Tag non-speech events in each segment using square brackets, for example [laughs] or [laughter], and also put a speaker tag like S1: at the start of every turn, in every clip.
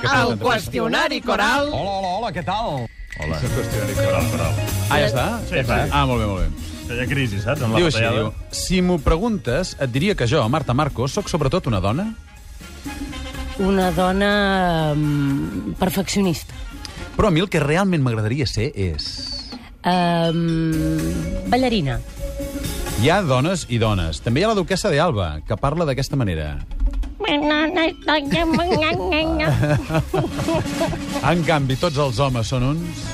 S1: què passa
S2: El
S1: entre-
S2: qüestionari coral.
S3: Hola, hola, hola, què tal?
S1: Hola.
S4: És el qüestionari coral, coral.
S1: Ah, ja està?
S4: Sí,
S1: ja està.
S4: sí.
S1: Ah, molt bé, molt bé.
S4: Que hi ha crisi, saps? En la
S1: Diu així,
S4: batallada.
S1: diu, si m'ho preguntes, et diria que jo, Marta Marcos, sóc sobretot una dona
S5: Una dona um, perfeccionista.
S1: Però a mi el que realment m'agradaria ser és...
S5: Um, ballarina.
S1: Hi ha dones i dones. També hi ha la duquesa d'Alba, que parla d'aquesta manera. En canvi, tots els homes són uns...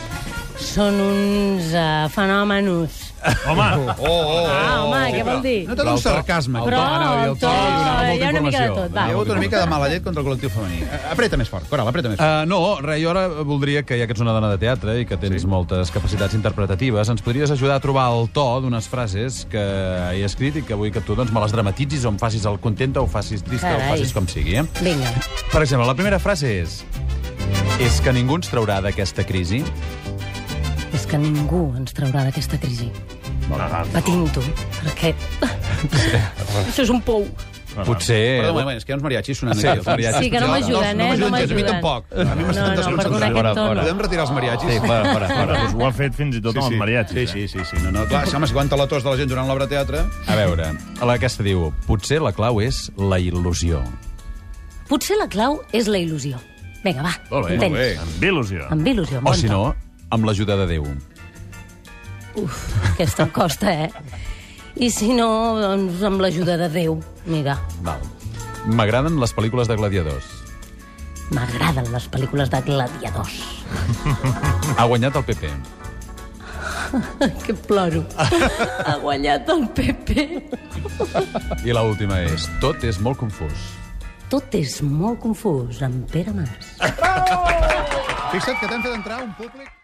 S5: Són uns uh, fenòmenos.
S4: Home,
S3: Oh, oh, oh.
S5: Ah, home, què vol dir?
S3: No
S1: Però
S3: tot
S1: el
S3: un
S1: to-
S3: sarcasme.
S1: el
S5: Però
S1: to, anava a dir, el to,
S5: el to,
S1: donava molta
S5: hi ha una mica de
S1: informació.
S5: tot, va.
S3: Hi
S1: Donava
S3: ha hagut
S1: molta
S3: una mica de
S1: informació.
S3: mala llet contra el col·lectiu femení. Eh, Apreta més fort, Coral, apreta més fort.
S1: Uh, no, res, jo ara voldria que, ja que ets una dona de teatre i que tens sí? moltes capacitats interpretatives, ens podries ajudar a trobar el to d'unes frases que he escrit i que vull que tu doncs, me les dramatitzis o em facis el contenta o facis trista o
S5: Carai.
S1: facis com sigui. Eh?
S5: Vinga.
S1: Per exemple, la primera frase és... És que ningú ens traurà d'aquesta crisi.
S5: És que ningú ens traurà d'aquesta crisi. Patint-ho,
S1: [laughs]
S5: perquè... Això és un pou.
S1: Potser...
S3: Perdó, un moment, és que hi ha uns mariachis sonant
S1: Sí,
S3: aquí.
S1: els mariachis.
S5: Sí, que no
S3: Potser-
S5: m'ajuden, eh?
S3: No m'ajuden, gens, a
S5: No
S3: mi
S5: m'ajuden.
S3: tampoc. A mi
S5: No,
S3: m'estan
S5: no,
S3: tensant
S5: perdona
S3: els
S5: aquest
S3: fora,
S5: tono.
S3: fora. Podem retirar els mariachis? Sí, fora, fora,
S4: Bueno, doncs ho ha fet fins i tot sí, amb els eh? mariatges.
S3: Sí, sí, sí, sí. No, no, clar, si, home, si aguanta la tos de la gent durant l'obra de teatre...
S1: eh? A veure, a la que se diu, potser la clau és la il·lusió.
S5: Potser la clau és la il·lusió. Vinga, va,
S1: Molt bé,
S5: intent.
S1: molt bé.
S4: Amb il·lusió.
S5: Amb il·lusió,
S1: O,
S5: bon
S1: si
S5: to.
S1: no, amb l'ajuda de Déu.
S5: Uf, aquesta em costa, eh? I si no, doncs amb l'ajuda de Déu. Mira,
S1: Val. M'agraden les pel·lícules de gladiadors.
S5: m'agraden les pel·lícules de gladiadors.
S1: Ha guanyat el PP.
S5: Que ploro. ha guanyat el PP.
S1: I la última és, tot és molt confús.
S5: Tot és molt confús amb Pere Mas.
S3: Fixa't que t'hem fet entrar un públic...